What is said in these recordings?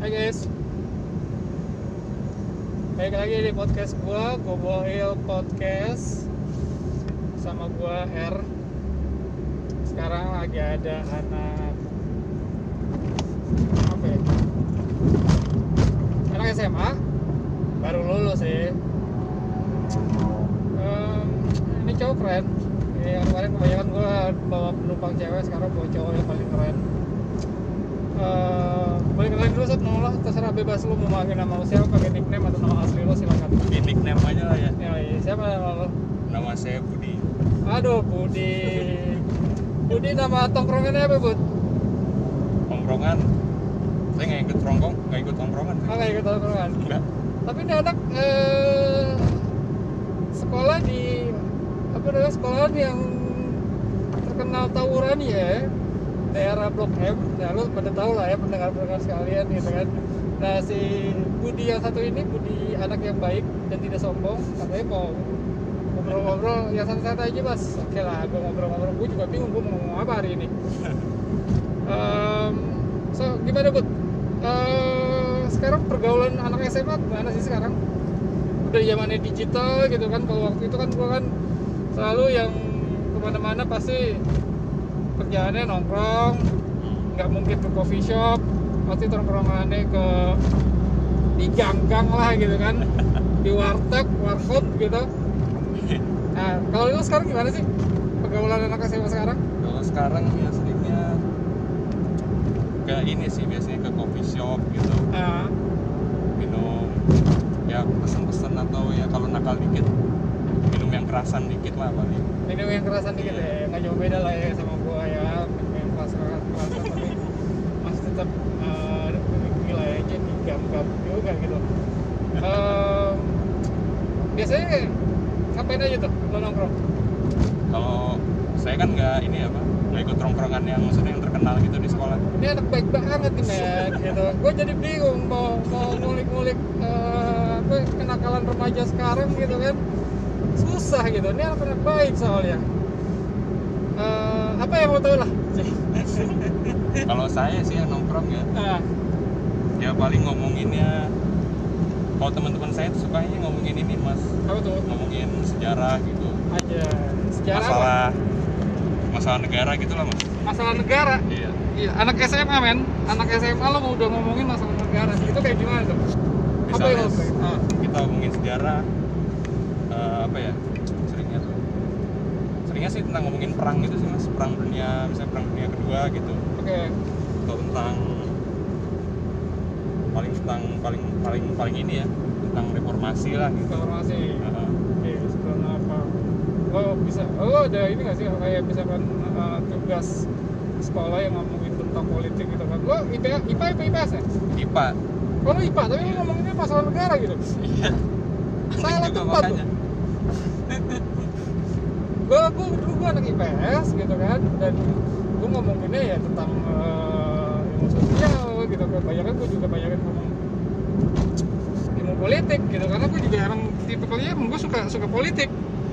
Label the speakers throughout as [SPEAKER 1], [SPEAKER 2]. [SPEAKER 1] Hai guys Baik lagi di podcast gua Gobohil Podcast Sama gua R Sekarang lagi ada anak Apa ya? Anak SMA Baru lulus sih Em, Ini cowok keren Ya, kemarin kebanyakan gua bawa penumpang cewek Sekarang bawa cowok yang paling keren Eh, balik lagi dulu Sat, nama lo terserah bebas lo mau pakai nama lo siapa pakai nickname atau nama asli lo silakan
[SPEAKER 2] Ini nickname aja lah ya.
[SPEAKER 1] ya iya, siapa nama lo
[SPEAKER 2] Nama saya Budi.
[SPEAKER 1] aduh Budi Budi nama tongkrongannya apa Bud?
[SPEAKER 2] Tongkrongan. Saya nggak ikut tongkrong, nggak ikut tongkrongan.
[SPEAKER 1] ah nggak ikut tongkrongan
[SPEAKER 2] Enggak.
[SPEAKER 1] tapi ini anak eh, sekolah di apa namanya sekolah yang terkenal tawuran ya daerah Blok M ya lu pada tahu lah ya pendengar-pendengar sekalian gitu kan nah si Budi yang satu ini Budi anak yang baik dan tidak sombong katanya mau ngobrol-ngobrol ya santai-santai aja mas oke lah gue ngobrol-ngobrol gue juga bingung gue mau ngomong apa hari ini Em, so gimana bud Eh, sekarang pergaulan anak SMA gimana sih sekarang udah zamannya digital gitu kan kalau waktu itu kan gua kan selalu yang kemana-mana pasti kerjaannya nongkrong nggak mungkin ke coffee shop pasti nongkrongannya ke di gang-gang lah gitu kan di warteg warkop gitu nah kalau lu sekarang gimana sih pergaulan anak SMA sekarang
[SPEAKER 2] Kalau sekarang ya seringnya ke ini sih biasanya ke coffee shop gitu
[SPEAKER 1] Ah,
[SPEAKER 2] minum ya pesen-pesen atau ya kalau nakal dikit minum yang kerasan dikit lah paling
[SPEAKER 1] minum yang kerasan dikit ya nggak jauh beda lah ya sama gua ya minum yang keras keras keras tapi masih tetap eh, gila ya jadi gam gam juga gitu Em, biasanya ngapain aja tuh lo nongkrong
[SPEAKER 2] kalau saya kan nggak ini apa nggak ikut tongkrongan yang maksudnya yang terkenal gitu di sekolah
[SPEAKER 1] ini anak baik banget nih men gitu gue jadi bingung mau mau ngulik-ngulik eh, apa kenakalan remaja sekarang gitu kan susah gitu ini anak-anak baik soalnya Eh, apa yang mau tahu lah
[SPEAKER 2] kalau saya sih yang nongkrong ya
[SPEAKER 1] Ah.
[SPEAKER 2] ya paling ngomonginnya kalau teman-teman saya tuh sukanya ngomongin ini mas
[SPEAKER 1] apa tuh
[SPEAKER 2] ngomongin sejarah gitu
[SPEAKER 1] aja sejarah apa?
[SPEAKER 2] masalah masalah negara gitu lah mas
[SPEAKER 1] masalah negara
[SPEAKER 2] iya
[SPEAKER 1] iya anak SMA men anak SMA lo udah ngomongin masalah negara itu kayak gimana tuh apa yang
[SPEAKER 2] misalnya eh,
[SPEAKER 1] lo sukain? Ah.
[SPEAKER 2] kita ngomongin sejarah eh, apa ya seringnya tuh seringnya sih tentang ngomongin perang gitu sih mas perang dunia misalnya perang dunia kedua gitu
[SPEAKER 1] oke
[SPEAKER 2] atau tentang paling tentang paling paling paling ini ya tentang reformasi lah gitu eh,
[SPEAKER 1] informasi
[SPEAKER 2] Heeh.
[SPEAKER 1] oke sebelum apa lo bisa lo ada ini gak sih kayak misalkan eh, tugas sekolah yang ngomongin tentang politik gitu kan lo IPA IPA IPA IPS ya
[SPEAKER 2] IPA
[SPEAKER 1] kalau IPA tapi lo ngomonginnya masalah negara gitu
[SPEAKER 2] iya
[SPEAKER 1] salah tempat
[SPEAKER 2] Juga Gitu, makanya.
[SPEAKER 1] tuh gue gue dulu gue anak IPS gitu kan dan gue ngomonginnya ya tentang eh, ilmu sosial gitu kan banyak gue juga banyak ngomong ilmu politik gitu karena gue juga emang tipikalnya emang gue suka suka politik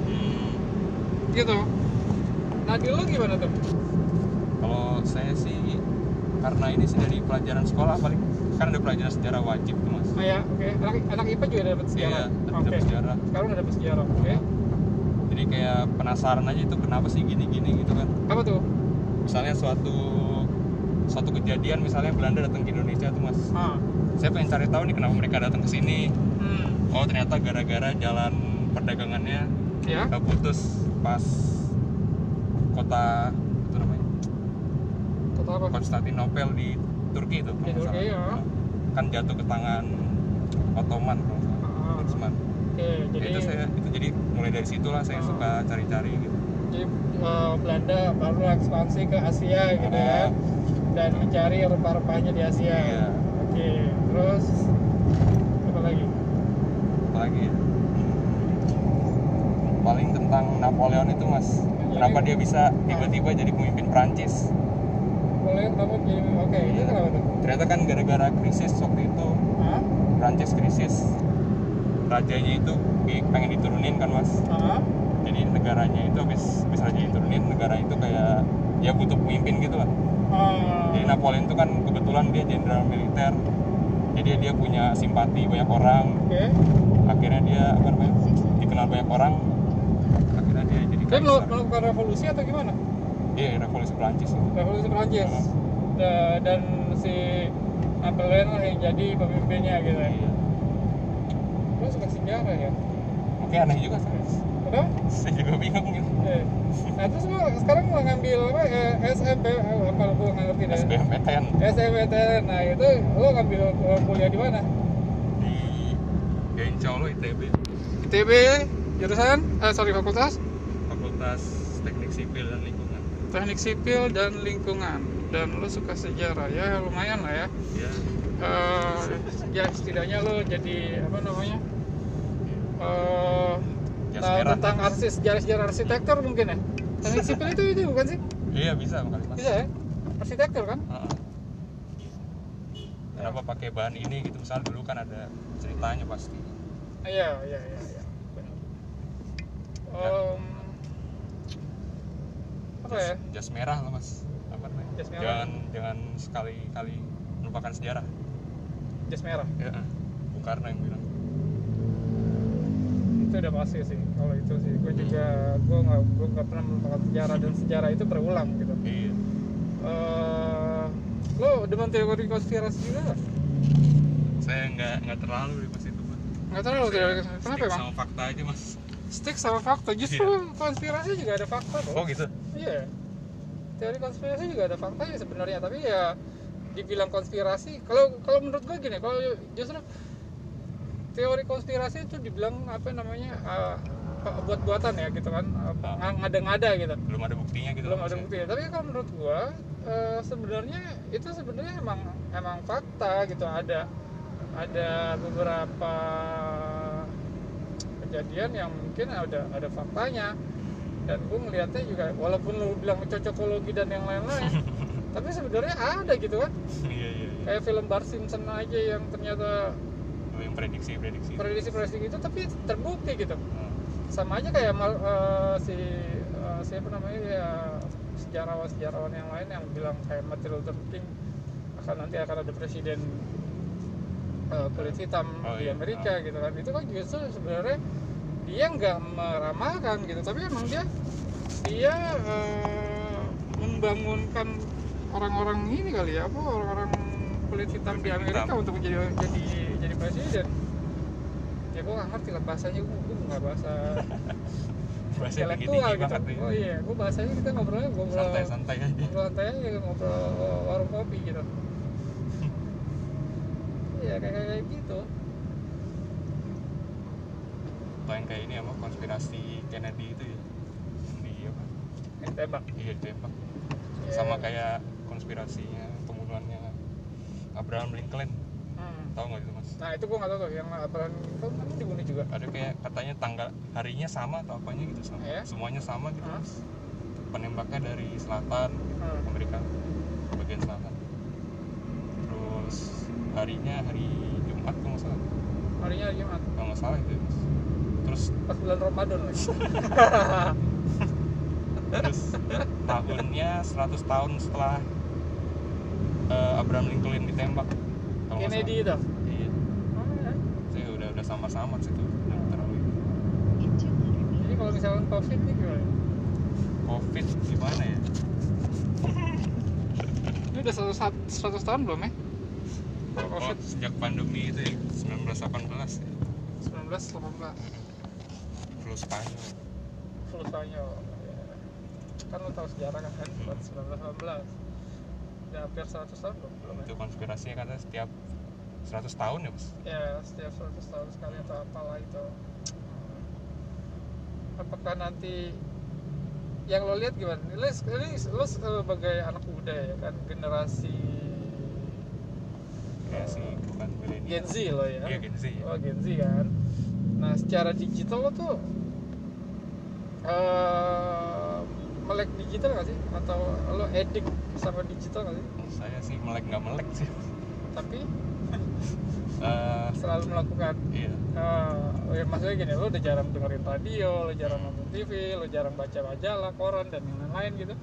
[SPEAKER 2] Hmm.
[SPEAKER 1] gitu nah di lo gimana tuh
[SPEAKER 2] Kalau saya sih karena ini sih dari pelajaran sekolah paling kan ada pelajaran sejarah wajib tuh mas.
[SPEAKER 1] ah, ya oke anak anak IPA juga dapat sejarah
[SPEAKER 2] Iya,
[SPEAKER 1] oke
[SPEAKER 2] ada sejarah.
[SPEAKER 1] sekarang udah dapat sejarah oke
[SPEAKER 2] Jadi kayak penasaran aja itu kenapa sih gini-gini gitu kan.
[SPEAKER 1] apa tuh
[SPEAKER 2] Misalnya suatu suatu kejadian misalnya Belanda datang ke Indonesia tuh mas.
[SPEAKER 1] ah
[SPEAKER 2] Saya pengen cari tahu nih kenapa mereka datang ke sini.
[SPEAKER 1] hmm.
[SPEAKER 2] Oh ternyata gara-gara jalan perdagangannya
[SPEAKER 1] ya
[SPEAKER 2] eh, putus pas kota itu namanya
[SPEAKER 1] kata apa
[SPEAKER 2] Konstantinopel di Turki itu
[SPEAKER 1] Di
[SPEAKER 2] kalau nggak
[SPEAKER 1] Turki,
[SPEAKER 2] salah.
[SPEAKER 1] ya.
[SPEAKER 2] kan jatuh ke tangan Ottoman kalau nggak salah.
[SPEAKER 1] Ah.
[SPEAKER 2] Ottoman.
[SPEAKER 1] oke
[SPEAKER 2] Ya,
[SPEAKER 1] jadi
[SPEAKER 2] itu saya itu jadi mulai dari situlah saya
[SPEAKER 1] Ah.
[SPEAKER 2] suka cari-cari gitu.
[SPEAKER 1] jadi eh, Belanda baru ekspansi ke Asia gitu ya
[SPEAKER 2] Ah.
[SPEAKER 1] dan mencari rempah-rempahnya di Asia
[SPEAKER 2] Iya.
[SPEAKER 1] oke terus apa lagi
[SPEAKER 2] Apalagi ya? paling tentang Napoleon itu mas kenapa dia bisa tiba-tiba
[SPEAKER 1] Ah.
[SPEAKER 2] jadi pemimpin Prancis
[SPEAKER 1] boleh kenapa jadi oke ini
[SPEAKER 2] Iya.
[SPEAKER 1] kenapa tuh
[SPEAKER 2] ternyata kan gara-gara krisis waktu itu
[SPEAKER 1] Hah?
[SPEAKER 2] Prancis krisis rajanya itu di- pengen diturunin kan mas
[SPEAKER 1] Hah?
[SPEAKER 2] jadi negaranya itu habis habis raja diturunin negara itu kayak ya butuh pemimpin gitu lah
[SPEAKER 1] Ah.
[SPEAKER 2] Jadi Napoleon itu kan kebetulan dia jenderal militer jadi dia punya simpati banyak orang
[SPEAKER 1] Oke.
[SPEAKER 2] akhirnya dia apa namanya dikenal banyak orang akhirnya dia jadi
[SPEAKER 1] Dia mel-
[SPEAKER 2] kaisar
[SPEAKER 1] melakukan revolusi atau gimana?
[SPEAKER 2] iya revolusi Perancis itu
[SPEAKER 1] Revolusi
[SPEAKER 2] Iya.
[SPEAKER 1] Perancis. Da- dan si Napoleon lah yang jadi pemimpinnya gitu. ya.
[SPEAKER 2] Iya.
[SPEAKER 1] Lo suka sejarah ya?
[SPEAKER 2] makanya aneh juga saya
[SPEAKER 1] Kenapa?
[SPEAKER 2] saya juga bingung gitu
[SPEAKER 1] Eh, Nah terus lo sekarang mau ngambil apa? Eh, SMP eh, apa lo nggak ngerti deh.
[SPEAKER 2] SBMPTN
[SPEAKER 1] SMPTN. Nah itu lo ngambil eh, kuliah di mana?
[SPEAKER 2] di ya insya Allah ITB
[SPEAKER 1] ITB jurusan eh sorry fakultas
[SPEAKER 2] Fakultas Teknik Sipil dan Lingkungan
[SPEAKER 1] Teknik Sipil dan Lingkungan. Dan lo suka sejarah ya lumayan lah ya.
[SPEAKER 2] ya
[SPEAKER 1] eh ya setidaknya lo jadi apa namanya eh
[SPEAKER 2] Jas
[SPEAKER 1] tahu
[SPEAKER 2] merah.
[SPEAKER 1] tentang arsis sejarah sejarah arsitektur mungkin ya teknik sipil itu itu bukan sih
[SPEAKER 2] iya bisa kali mas
[SPEAKER 1] bisa ya arsitektur kan
[SPEAKER 2] Heeh. kenapa pakai bahan ini gitu misalnya dulu kan ada ceritanya pasti
[SPEAKER 1] Ah, iya iya iya iya benar Em, apa ya
[SPEAKER 2] jas, jas merah lah mas apa namanya
[SPEAKER 1] Jas merah.
[SPEAKER 2] jangan jangan sekali kali melupakan sejarah
[SPEAKER 1] jas merah
[SPEAKER 2] ya Bung Karno yang bilang
[SPEAKER 1] itu udah pasti sih kalau itu sih gue juga
[SPEAKER 2] Hmm.
[SPEAKER 1] gue nggak gue nggak pernah melupakan sejarah dan sejarah itu berulang gitu
[SPEAKER 2] iya
[SPEAKER 1] Eh, lo demen teori konspirasi juga nggak?
[SPEAKER 2] saya nggak nggak terlalu di pas itu mas
[SPEAKER 1] nggak terlalu teori
[SPEAKER 2] Saya
[SPEAKER 1] konspirasi kenapa
[SPEAKER 2] stick
[SPEAKER 1] emang
[SPEAKER 2] sama fakta aja mas
[SPEAKER 1] stick sama fakta justru konspirasi juga ada fakta loh
[SPEAKER 2] oh gitu
[SPEAKER 1] iya teori konspirasi juga ada faktanya sebenarnya tapi ya dibilang konspirasi kalau kalau menurut gue gini kalau justru teori konspirasi itu dibilang apa namanya eh, pe- buat-buatan ya gitu kan eh,
[SPEAKER 2] Ah.
[SPEAKER 1] ng- ngada-ngada gitu
[SPEAKER 2] belum ada buktinya gitu
[SPEAKER 1] belum
[SPEAKER 2] Mas,
[SPEAKER 1] ada
[SPEAKER 2] ya.
[SPEAKER 1] bukti tapi kalau menurut gua eh, sebenarnya itu sebenarnya emang emang fakta gitu ada ada beberapa kejadian yang mungkin ada ada faktanya dan gua melihatnya juga walaupun lu bilang cocokologi dan yang lain-lain tapi sebenarnya ada gitu kan
[SPEAKER 2] iya iya iya
[SPEAKER 1] kayak film Bar Simpson aja yang ternyata
[SPEAKER 2] Oh, yang prediksi prediksi
[SPEAKER 1] prediksi-prediksi itu tapi terbukti gitu
[SPEAKER 2] Heeh.
[SPEAKER 1] sama aja kayak mal- eh, si eh, siapa namanya ya sejarawan sejarawan yang lain yang bilang kayak Martin Luther King akan nanti akan ada presiden eh, kulit hitam
[SPEAKER 2] Oh,
[SPEAKER 1] di
[SPEAKER 2] iya.
[SPEAKER 1] Amerika gitu kan itu kan justru sebenarnya dia nggak meramalkan gitu tapi emang dia dia eh, membangunkan orang-orang ini kali ya apa orang-orang kulit hitam di
[SPEAKER 2] Kulit
[SPEAKER 1] Amerika
[SPEAKER 2] hitam.
[SPEAKER 1] untuk menjadi jadi jadi presiden ya gue nggak ngerti lah bahasanya gue nggak bahasa
[SPEAKER 2] bahasa tinggi
[SPEAKER 1] intelektual
[SPEAKER 2] tinggi
[SPEAKER 1] gitu.
[SPEAKER 2] banget ya
[SPEAKER 1] Oh iya, gue bahasanya kita ngobrolnya ngobrol
[SPEAKER 2] santai santai aja
[SPEAKER 1] ngobrol santai aja ngobrol warung kopi gitu. Iya kayak kayak gitu.
[SPEAKER 2] atau yang kayak ini apa konspirasi Kennedy itu ya Yang di apa
[SPEAKER 1] Yang tembak.
[SPEAKER 2] iya ditembak
[SPEAKER 1] Iya.
[SPEAKER 2] sama kayak konspirasinya pembunuhannya Abraham Lincoln
[SPEAKER 1] Hmm.
[SPEAKER 2] tahu nggak itu mas
[SPEAKER 1] Nah itu gue nggak tahu tuh yang Abraham Lincoln kan dibunuh juga.
[SPEAKER 2] ada kayak katanya tanggal harinya sama atau apanya gitu sama
[SPEAKER 1] Iya.
[SPEAKER 2] semuanya sama gitu
[SPEAKER 1] Hah?
[SPEAKER 2] mas penembaknya dari selatan gitu,
[SPEAKER 1] Hmm.
[SPEAKER 2] Amerika bagian selatan terus harinya hari Jumat kalau nggak salah
[SPEAKER 1] Harinya hari Jumat.
[SPEAKER 2] kalau nggak salah itu ya, mas terus
[SPEAKER 1] Pas bulan Ramadan lagi.
[SPEAKER 2] terus tahunnya 100 tahun setelah eh, Abraham Lincoln ditembak kalau nggak
[SPEAKER 1] Kennedy
[SPEAKER 2] salah.
[SPEAKER 1] itu.
[SPEAKER 2] iya
[SPEAKER 1] Oh, ya.
[SPEAKER 2] saya udah udah sama-sama sih itu udah terlalu
[SPEAKER 1] Jadi kalau misalkan COVID ini gimana?
[SPEAKER 2] covid gimana ya
[SPEAKER 1] Ini udah 100, 100 tahun belum ya? Kalau
[SPEAKER 2] oh,
[SPEAKER 1] COVID
[SPEAKER 2] sejak pandemi itu ya 1918 ya.
[SPEAKER 1] 1918.
[SPEAKER 2] flu Spanyol
[SPEAKER 1] flu Spanyol ya. kan lo tahu sejarah kan kan tahun 1918 udah Ya, hampir 100 tahun belum belum
[SPEAKER 2] itu konspirasinya katanya setiap 100 tahun ya mas
[SPEAKER 1] ya? ya setiap 100 tahun sekali atau apalah itu apakah nanti yang lo lihat gimana lo, ini lo sebagai anak muda ya kan generasi
[SPEAKER 2] ya sih bukan milenial
[SPEAKER 1] Gen Z lo ya
[SPEAKER 2] iya Gen Z ya.
[SPEAKER 1] Oh Gen Z kan. Nah secara digital lo tuh eh, melek digital gak sih? Atau lo edik sama digital gak sih?
[SPEAKER 2] saya sih melek nggak melek sih
[SPEAKER 1] Tapi
[SPEAKER 2] Eh,
[SPEAKER 1] selalu melakukan
[SPEAKER 2] iya
[SPEAKER 1] eh, ya maksudnya gini, lo udah jarang dengerin radio, lo jarang nonton TV, lo jarang baca majalah, koran dan yang lain-lain gitu.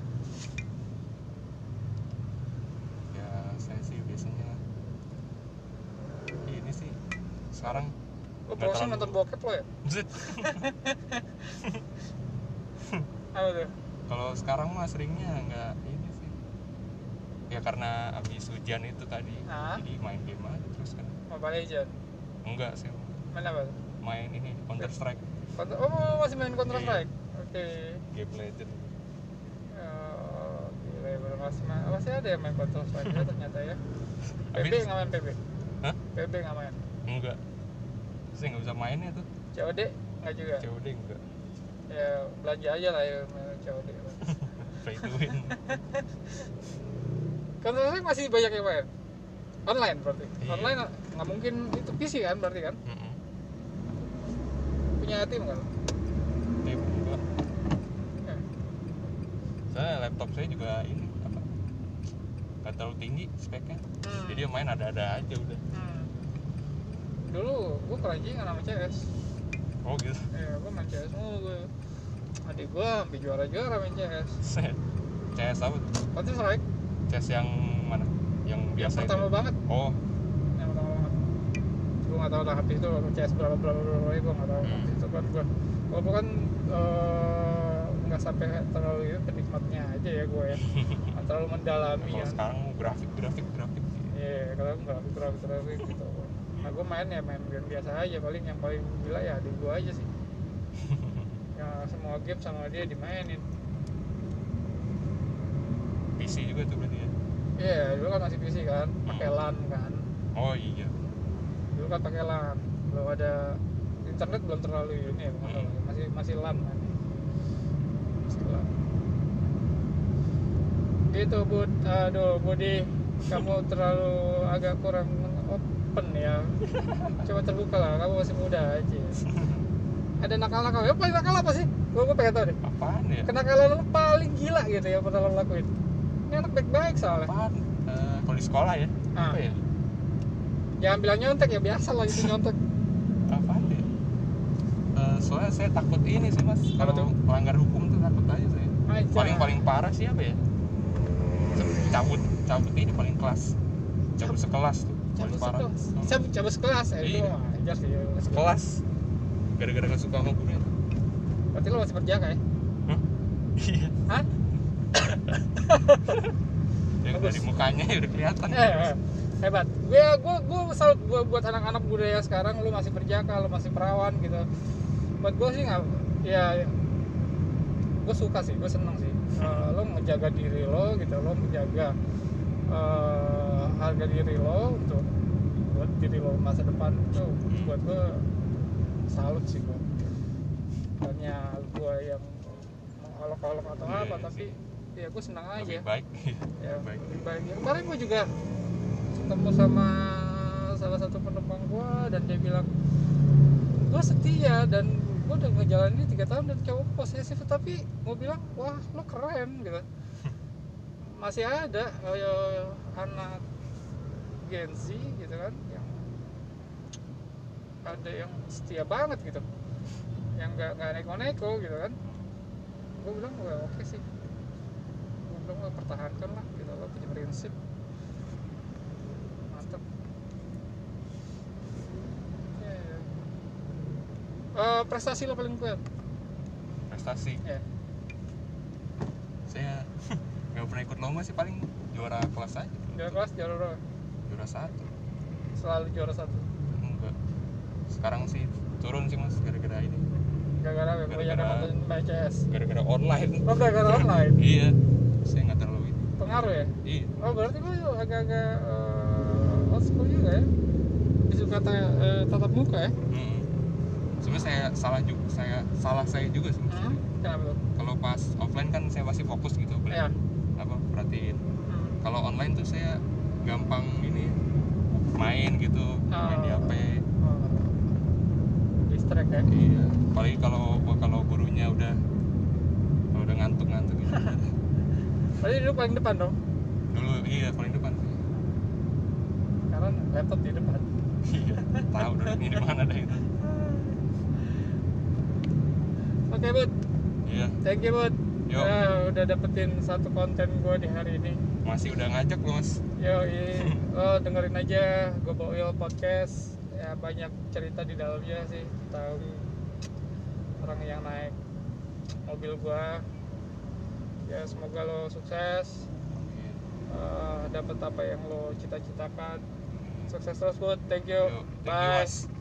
[SPEAKER 2] ya saya sih biasanya sekarang
[SPEAKER 1] Lo
[SPEAKER 2] Nggak
[SPEAKER 1] bosan
[SPEAKER 2] terlalu.
[SPEAKER 1] nonton bokep lo ya?
[SPEAKER 2] Zit.
[SPEAKER 1] Apa tuh?
[SPEAKER 2] kalau sekarang mah seringnya nggak ini sih ya karena habis hujan itu tadi
[SPEAKER 1] Ah.
[SPEAKER 2] jadi main game aja terus kan
[SPEAKER 1] Mobile Legends.
[SPEAKER 2] enggak sih
[SPEAKER 1] Main apa? tuh?
[SPEAKER 2] main ini Counter Strike
[SPEAKER 1] Counter- Oh, masih main Counter
[SPEAKER 2] Iya.
[SPEAKER 1] Strike? Oke.
[SPEAKER 2] game legend
[SPEAKER 1] Oh, gila ya, baru masih, ma- masih ada yang main Counter Strike ya ternyata ya. PB
[SPEAKER 2] Habis-
[SPEAKER 1] nggak main PB?
[SPEAKER 2] Hah?
[SPEAKER 1] PB nggak main.
[SPEAKER 2] enggak saya nggak bisa mainnya tuh
[SPEAKER 1] COD nggak juga.
[SPEAKER 2] COD enggak
[SPEAKER 1] Ya belanja aja lah ya main COD.
[SPEAKER 2] play to win
[SPEAKER 1] Counter Strike masih banyak yang main. Online berarti.
[SPEAKER 2] Iya.
[SPEAKER 1] Online nggak mungkin itu PC kan berarti kan?
[SPEAKER 2] Mm-mm.
[SPEAKER 1] Punya tim kan?
[SPEAKER 2] Tapi enggak
[SPEAKER 1] Ya.
[SPEAKER 2] saya laptop saya juga ini apa nggak terlalu tinggi speknya
[SPEAKER 1] Hmm.
[SPEAKER 2] jadi yang main ada-ada aja udah
[SPEAKER 1] Hmm. Dulu gue keranjingan sama CS.
[SPEAKER 2] oh gitu
[SPEAKER 1] Ya, gue main CS mulu gue. Adik gue sampai juara-juara main CS.
[SPEAKER 2] Set. CS apa tuh?
[SPEAKER 1] Counter Strike
[SPEAKER 2] CS yang mana? Yang biasa
[SPEAKER 1] pertama
[SPEAKER 2] itu?
[SPEAKER 1] banget.
[SPEAKER 2] Oh,
[SPEAKER 1] yang pertama banget gue nggak tahu lah habis itu CS berapa berapa berapa berapa gue nggak tahu
[SPEAKER 2] Hmm.
[SPEAKER 1] habis itu kan gue walaupun kan eh, nggak sampai terlalu itu penikmatnya aja ya gue ya nggak terlalu mendalami
[SPEAKER 2] kalau
[SPEAKER 1] ya
[SPEAKER 2] sekarang grafik grafik grafik
[SPEAKER 1] iya kalau nggak grafik grafik gitu nah gue main ya main game biasa aja paling yang paling gila ya adik gue aja sih ya semua game sama dia dimainin
[SPEAKER 2] PC juga tuh berarti ya.
[SPEAKER 1] iya dulu kan masih PC kan pakai
[SPEAKER 2] Hmm.
[SPEAKER 1] LAN kan
[SPEAKER 2] Oh iya.
[SPEAKER 1] dulu kan pakai LAN belum ada internet belum terlalu ini ya bukan
[SPEAKER 2] Hmm.
[SPEAKER 1] terlalu, masih masih LAN kan masih LAN gitu bud aduh budi kamu terlalu agak kurang open ya coba terbuka lah kamu masih muda aja ada nakal-nakal ya paling nakal apa sih gue gue pengen tahu deh
[SPEAKER 2] Apaan ya?
[SPEAKER 1] kenakalan lu paling gila gitu ya pernah lo lakuin ini anak baik-baik soalnya
[SPEAKER 2] Apaan? Eh, kalau di sekolah ya?
[SPEAKER 1] Ah.
[SPEAKER 2] Apa ya?
[SPEAKER 1] jangan bilang nyontek ya biasa lah itu nyontek
[SPEAKER 2] Apaan ya? Eh, soalnya saya takut ini sih mas
[SPEAKER 1] Apa
[SPEAKER 2] kalau
[SPEAKER 1] tuh? Iya.
[SPEAKER 2] melanggar hukum tuh takut aja saya
[SPEAKER 1] Aja.
[SPEAKER 2] paling paling parah sih apa ya cabut cabut ini paling kelas cabut sekelas tuh
[SPEAKER 1] cabut
[SPEAKER 2] paling parah
[SPEAKER 1] sekelas
[SPEAKER 2] Hmm.
[SPEAKER 1] cabut cabut sekelas ya itu
[SPEAKER 2] Iya.
[SPEAKER 1] mah wajar sih
[SPEAKER 2] sekelas gara-gara gak suka sama gurunya
[SPEAKER 1] berarti lo masih berjaga ya
[SPEAKER 2] iya
[SPEAKER 1] hah
[SPEAKER 2] yang
[SPEAKER 1] Bagus.
[SPEAKER 2] dari mukanya ya udah kelihatan
[SPEAKER 1] eh, eh, hebat Ya, gue gue gue salut gue buat anak-anak budaya sekarang lo masih berjaga lo masih perawan gitu buat gue sih nggak ya gue suka sih gue seneng sih Eh, lo menjaga diri lo gitu lo menjaga eh, harga diri lo untuk buat diri lo masa depan itu
[SPEAKER 2] Hmm.
[SPEAKER 1] buat gue salut sih gue bukannya gue yang mengolok-olok atau
[SPEAKER 2] Iya,
[SPEAKER 1] apa
[SPEAKER 2] iya
[SPEAKER 1] tapi ya gue senang aja
[SPEAKER 2] lebih baik
[SPEAKER 1] ya
[SPEAKER 2] baik.
[SPEAKER 1] lebih baik Ya, kemarin gue juga ketemu sama salah satu penumpang gue dan dia bilang gue setia ya, dan gue udah ngejalanin ini tiga tahun dan cowok posesif tapi gue bilang wah lo keren gitu masih ada eh, anak Gen Z gitu kan yang ada yang setia banget gitu yang nggak nggak neko-neko gitu kan gue bilang wah oke sih gue bilang lo pertahankan lah gitu lo punya prinsip mantep Ya, ya. Eh, prestasi lo paling kuat
[SPEAKER 2] prestasi
[SPEAKER 1] ya
[SPEAKER 2] saya nggak pernah ikut lomba sih paling juara kelas aja
[SPEAKER 1] juara kelas juara berapa?
[SPEAKER 2] juara satu
[SPEAKER 1] selalu juara satu
[SPEAKER 2] enggak sekarang sih turun sih mas gara-gara ini
[SPEAKER 1] gara-gara gue
[SPEAKER 2] Gara-gara-
[SPEAKER 1] banyak nonton PCS
[SPEAKER 2] gara-gara online
[SPEAKER 1] oh gara-gara online
[SPEAKER 2] iya saya nggak terlalu ini
[SPEAKER 1] pengaruh ya
[SPEAKER 2] iya
[SPEAKER 1] oh berarti lo agak-agak eh, old school juga ya bisa kata eh, tatap muka ya
[SPEAKER 2] Mm-mm. Hmm. sebenarnya saya salah juga saya salah saya juga sih Mas.
[SPEAKER 1] Hmm. kenapa lo?
[SPEAKER 2] kalau pas offline kan saya masih fokus gitu beli
[SPEAKER 1] Iya.
[SPEAKER 2] apa perhatiin
[SPEAKER 1] Hmm.
[SPEAKER 2] kalau online tuh saya gampang ini main gitu main di
[SPEAKER 1] Ah.
[SPEAKER 2] HP
[SPEAKER 1] Oh. distract ya
[SPEAKER 2] iya apalagi kalau kalau gurunya udah kalau udah ngantuk-ngantuk gitu
[SPEAKER 1] berarti dulu paling depan dong
[SPEAKER 2] dulu iya paling depan sih
[SPEAKER 1] karena laptop di depan
[SPEAKER 2] iya tahu duduknya di mana deh gitu. itu
[SPEAKER 1] oke bud
[SPEAKER 2] iya
[SPEAKER 1] thank you bud
[SPEAKER 2] Hmm. Yo.
[SPEAKER 1] Ya, udah dapetin satu konten gue di hari ini Oh,
[SPEAKER 2] masih udah ngajak loh mas
[SPEAKER 1] yo i- lo dengerin aja gue bawa podcast Eh, ya banyak cerita di dalamnya sih tentang orang yang naik mobil gua ya semoga lo sukses eh, dapat apa yang lo cita-citakan sukses terus bud thank you
[SPEAKER 2] Yo, thank you,
[SPEAKER 1] bye
[SPEAKER 2] Mas.